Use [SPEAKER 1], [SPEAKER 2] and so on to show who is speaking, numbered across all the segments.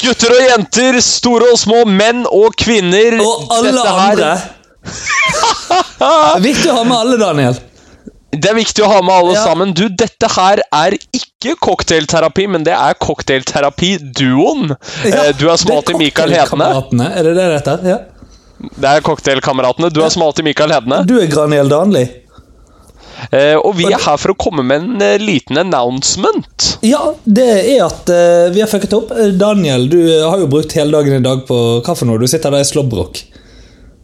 [SPEAKER 1] Gutter og jenter, store og små, menn og kvinner.
[SPEAKER 2] Og alle
[SPEAKER 1] Dette her-
[SPEAKER 2] andre. Viktig å ha med alle, Daniel.
[SPEAKER 1] Det er viktig å ha med alle
[SPEAKER 2] Ja.
[SPEAKER 1] sammen. Du, dette her er ikke cocktailterapi, men det er cocktailterapi-duoen. Eh, du er smalt
[SPEAKER 2] Det
[SPEAKER 1] til
[SPEAKER 2] er
[SPEAKER 1] Michael Hedne.
[SPEAKER 2] cocktailkameratene. Er det det det heter? Ja.
[SPEAKER 1] Det er cocktailkameratene. Du er smal til Michael Hedne.
[SPEAKER 2] Du er Graniel Danli.
[SPEAKER 1] Eh, og vi er her for å komme med en eh, liten announcement.
[SPEAKER 2] Ja, det er at eh, vi har fucket opp. Eh, Daniel, du har jo brukt hele dagen i dag på hva for noe? Du sitter der i slåbrok.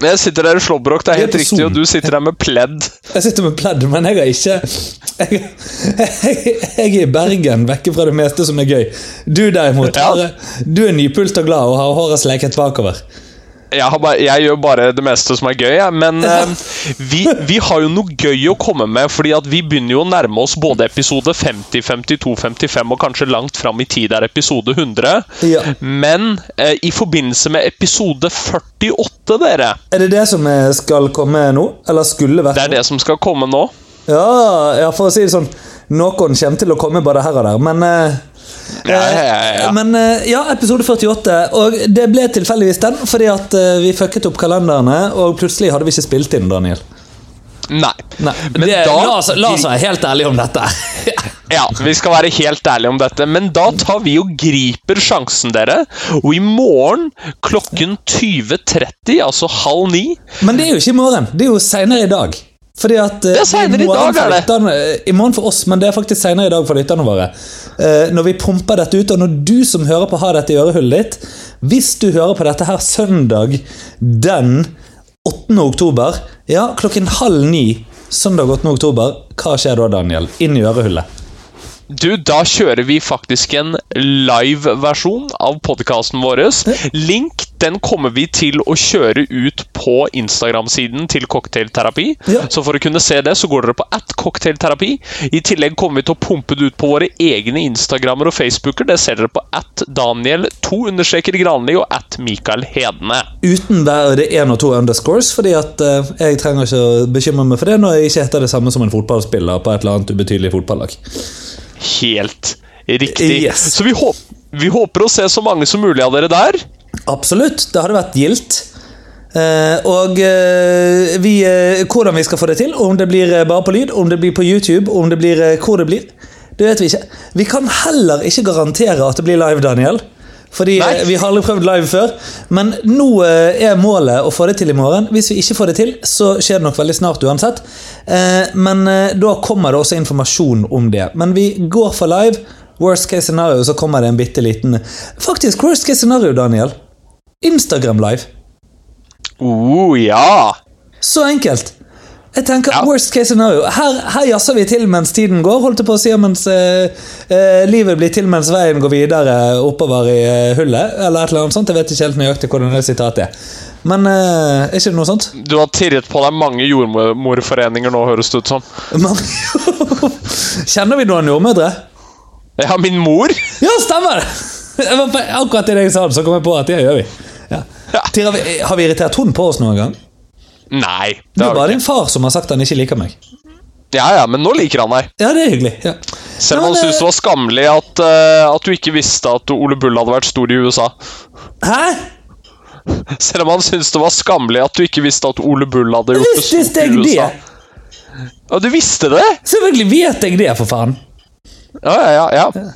[SPEAKER 1] Jeg sitter der i slåbrok, det er
[SPEAKER 2] Vi er
[SPEAKER 1] helt
[SPEAKER 2] på
[SPEAKER 1] riktig,
[SPEAKER 2] Zoom.
[SPEAKER 1] og du sitter der med pledd.
[SPEAKER 2] Jeg sitter med pledd, men jeg har ikke jeg, jeg, jeg er i Bergen, vekke fra det meste som er gøy. Du derimot,
[SPEAKER 1] Ja.
[SPEAKER 2] har, du er nypult og glad og har håret sleket bakover.
[SPEAKER 1] Jeg, har bare, jeg gjør bare det meste som er gøy, jeg. Men eh, vi, vi har jo noe gøy å komme med, fordi at vi begynner jo å nærme oss både episode 50, 52, 55 og kanskje langt fram i tid er episode 100.
[SPEAKER 2] Ja.
[SPEAKER 1] Men eh, i forbindelse med episode 48, dere
[SPEAKER 2] Er det det som eh, skal komme nå? Eller skulle vært
[SPEAKER 1] Det er det som skal komme nå.
[SPEAKER 2] Ja, ja, for å si det sånn Noen kommer til å komme bare her og der, men eh,
[SPEAKER 1] Ja, ja, ja, ja.
[SPEAKER 2] Men eh, ja, episode 48. Og det ble tilfeldigvis den, fordi at eh, vi fucket opp kalenderne, og plutselig hadde vi ikke spilt inn, Daniel.
[SPEAKER 1] Nei.
[SPEAKER 2] Nei,
[SPEAKER 1] Men
[SPEAKER 2] det,
[SPEAKER 1] da-
[SPEAKER 2] la, oss, la oss være helt ærlige om dette.
[SPEAKER 1] Ja, Vi skal være helt ærlige om dette, men da tar vi og griper sjansen, dere. Og i morgen klokken 20.30, altså halv ni
[SPEAKER 2] Men det er jo ikke i morgen. Det er jo seinere i dag. Fordi at, eh,
[SPEAKER 1] Det er senere i
[SPEAKER 2] morgen
[SPEAKER 1] dag,
[SPEAKER 2] for
[SPEAKER 1] er det.
[SPEAKER 2] lytterne- eh, I morgen for oss, men det er faktisk seinere i dag for lytterne våre. Eh, når vi pumper dette ut, og når du som hører på har dette i ørehullet ditt Hvis du hører på dette her søndag den 8. oktober, ja, klokken halv ni søndag 8. oktober, hva skjer da, Daniel? Inn i ørehullet.
[SPEAKER 1] Du, da kjører vi faktisk en live-versjon av podkasten vår. Link den kommer vi til å kjøre ut på Instagram-siden til Cocktailterapi.
[SPEAKER 2] Ja.
[SPEAKER 1] Så for å kunne se det, så går dere på at cocktailterapi. I tillegg kommer vi til å pumpe det ut på våre egne Instagrammer og Facebooker. Det ser dere på at Daniel2-Granli og at Mikael Hedne.
[SPEAKER 2] Uten hver det én og to underscores, fordi at eh, jeg trenger ikke å bekymre meg for det når jeg ikke heter det samme som en fotballspiller på et eller annet ubetydelig fotballag.
[SPEAKER 1] Helt riktig.
[SPEAKER 2] Yes.
[SPEAKER 1] Så vi, håp vi håper å se så mange som mulig av dere der.
[SPEAKER 2] Absolutt, det hadde vært gildt. Eh, og eh, vi, eh, hvordan vi skal få det til, om det blir eh, bare på lyd, om det blir på YouTube, om det blir eh, hvor det blir, det vet vi ikke. Vi kan heller ikke garantere at det blir live, Daniel. Fordi
[SPEAKER 1] Nei.
[SPEAKER 2] eh, vi har aldri prøvd live før. Men nå eh, er målet å få det til i morgen. Hvis vi ikke får det til, så skjer det nok veldig snart uansett. Eh, men eh, da kommer det også informasjon om det. Men vi går for live. Worst case scenario, så kommer det en bitte liten Faktisk, worst case scenario, Daniel. Instagram live.
[SPEAKER 1] Oh, ja.
[SPEAKER 2] Så enkelt. Jeg tenker,
[SPEAKER 1] Ja.
[SPEAKER 2] worst case scenario her, her jazzer vi til mens tiden går, holdt jeg på å si, og mens eh, eh, livet blir til mens veien går videre oppover i eh, hullet, eller et eller annet sånt. Jeg vet ikke helt nøyaktig hvordan det sitatet er. Men eh, er ikke det noe sånt?
[SPEAKER 1] Du har tirret på deg mange jordmorforeninger nå, høres det ut som.
[SPEAKER 2] Men, kjenner vi noen jordmødre?
[SPEAKER 1] Ja, min mor!
[SPEAKER 2] Ja, stemmer! Jeg var på, akkurat i det jeg sa, det, så kom jeg på at det gjør vi. Ja. Tira, vi- eh, har vi irritert hun på oss noen gang?
[SPEAKER 1] Nei.
[SPEAKER 2] Det
[SPEAKER 1] Det
[SPEAKER 2] er
[SPEAKER 1] har
[SPEAKER 2] bare
[SPEAKER 1] vi ikke.
[SPEAKER 2] din far som har sagt han ikke liker meg.
[SPEAKER 1] Ja, ja, men nå liker han deg.
[SPEAKER 2] Ja, det er hyggelig. Ja.
[SPEAKER 1] Selv om
[SPEAKER 2] Men,
[SPEAKER 1] han
[SPEAKER 2] eh,
[SPEAKER 1] syntes det var skammelig at, eh, at du ikke visste at Ole Bull hadde vært stor i USA.
[SPEAKER 2] Hæ?
[SPEAKER 1] Selv om han syntes det var skammelig at du ikke visste at Ole Bull hadde gjort det
[SPEAKER 2] Visste
[SPEAKER 1] stort i
[SPEAKER 2] jeg det?
[SPEAKER 1] USA. Ja, du visste det?
[SPEAKER 2] Selvfølgelig vet jeg det, for faen.
[SPEAKER 1] Ja, ja, ja. ja.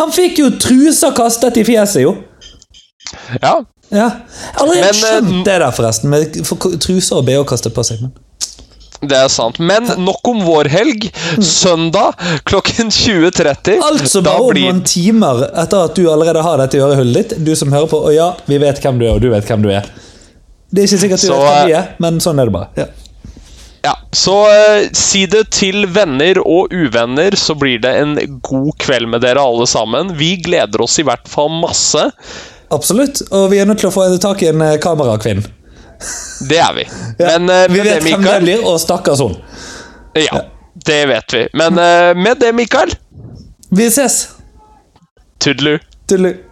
[SPEAKER 2] Han fikk jo truser kastet i fjeset, jo.
[SPEAKER 1] ja.
[SPEAKER 2] Ja. Jeg har Aldri
[SPEAKER 1] Men,
[SPEAKER 2] helt
[SPEAKER 1] eh,
[SPEAKER 2] skjønt det der, forresten. Med for k- truser og BH kastet på seg. Men.
[SPEAKER 1] Det er sant. Men nok om vår helg.
[SPEAKER 2] Mm.
[SPEAKER 1] Søndag klokken 20.30.
[SPEAKER 2] Altså
[SPEAKER 1] Da
[SPEAKER 2] bare om
[SPEAKER 1] blir-
[SPEAKER 2] noen timer etter at du allerede har dette i ørehullet ditt, du som hører på, og ja, vi vet hvem du er, og du vet hvem du er. Det er ikke sikkert du
[SPEAKER 1] Så,
[SPEAKER 2] vet hvem vi
[SPEAKER 1] eh,
[SPEAKER 2] er, men sånn er det bare. Ja.
[SPEAKER 1] Ja, så eh, si det til venner og uvenner, så blir det en god kveld med dere alle sammen. Vi gleder oss i hvert fall masse.
[SPEAKER 2] Absolutt. Og vi er nødt til å få tak i en eh, kamerakvinne.
[SPEAKER 1] Det er vi.
[SPEAKER 2] Ja.
[SPEAKER 1] Men eh, med det,
[SPEAKER 2] vi vet hvem det
[SPEAKER 1] Mikael
[SPEAKER 2] blir, og stakkars hun.
[SPEAKER 1] Ja, det vet vi. Men eh, med det, Mikael
[SPEAKER 2] Vi ses.
[SPEAKER 1] Tudelu.
[SPEAKER 2] Tudelu.